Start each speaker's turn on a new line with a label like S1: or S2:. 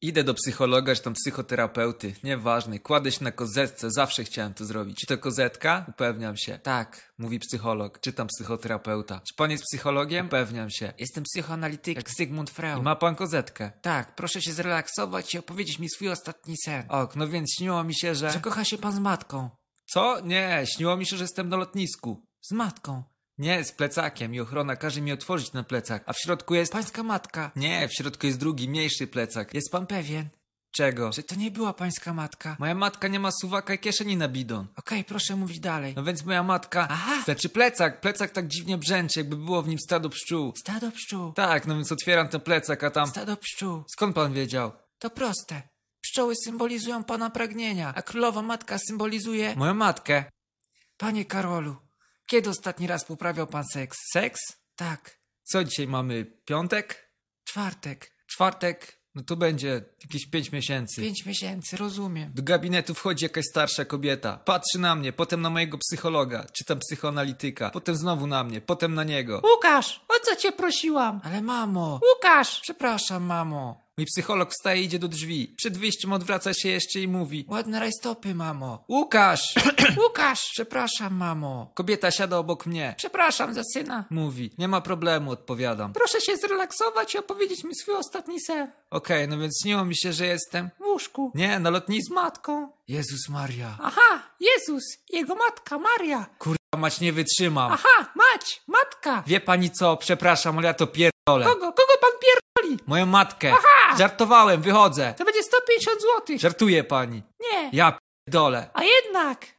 S1: Idę do psychologa, czy tam psychoterapeuty, nieważne. Kładę się na kozetce, zawsze chciałem to zrobić. Czy to kozetka? Upewniam się. Tak, mówi psycholog. Czytam psychoterapeuta. Czy pan jest psychologiem? Upewniam się. Jestem psychoanalitykiem, jak Zygmunt Freud. I ma pan kozetkę? Tak, proszę się zrelaksować i opowiedzieć mi swój ostatni sen. Ok, no więc śniło mi się, że... Że kocha się pan z matką. Co? Nie, śniło mi się, że jestem na lotnisku. Z matką. Nie, z plecakiem i ochrona każe mi otworzyć ten plecak, a w środku jest pańska matka. Nie, w środku jest drugi, mniejszy plecak. Jest pan pewien? Czego? Że to nie była pańska matka. Moja matka nie ma suwaka i kieszeni na bidon. Okej, proszę mówić dalej. No więc moja matka... Aha! Znaczy plecak, plecak tak dziwnie brzęczy, jakby było w nim stado pszczół. Stado pszczół? Tak, no więc otwieram ten plecak, a tam... Stado pszczół. Skąd pan wiedział? To proste. Pszczoły symbolizują pana pragnienia, a królowa matka symbolizuje... Moją matkę. Panie Karolu, kiedy ostatni raz poprawiał pan seks? Seks? Tak. Co dzisiaj mamy? Piątek? Czwartek. Czwartek? No to będzie jakieś pięć miesięcy. Pięć miesięcy, rozumiem. Do gabinetu wchodzi jakaś starsza kobieta. Patrzy na mnie, potem na mojego psychologa, czy tam psychoanalityka. Potem znowu na mnie, potem na niego.
S2: Łukasz, o co cię prosiłam?
S1: Ale mamo!
S2: Łukasz!
S1: Przepraszam, mamo. Mój psycholog wstaje i idzie do drzwi. Przed wyjściem odwraca się jeszcze i mówi: Ładne rajstopy, mamo. Łukasz!
S2: Łukasz!
S1: Przepraszam, mamo. Kobieta siada obok mnie.
S2: Przepraszam za syna.
S1: Mówi: Nie ma problemu, odpowiadam.
S2: Proszę się zrelaksować i opowiedzieć mi swój ostatni sen.
S1: Okej, no więc śniło mi się, że jestem.
S2: W łóżku.
S1: Nie, na lotnisku.
S2: Z matką.
S1: Jezus Maria.
S2: Aha, Jezus, jego matka Maria.
S1: Kurwa, mać nie wytrzymam.
S2: Aha, mać, matka.
S1: Wie pani co? Przepraszam, ale ja to pierdolę.
S2: Kogo, kogo pan pierdoli?
S1: Moją matkę. Żartowałem, wychodzę.
S2: To będzie 150 zł.
S1: Żartuje pani.
S2: Nie,
S1: Ja pierdolę.
S2: a jednak.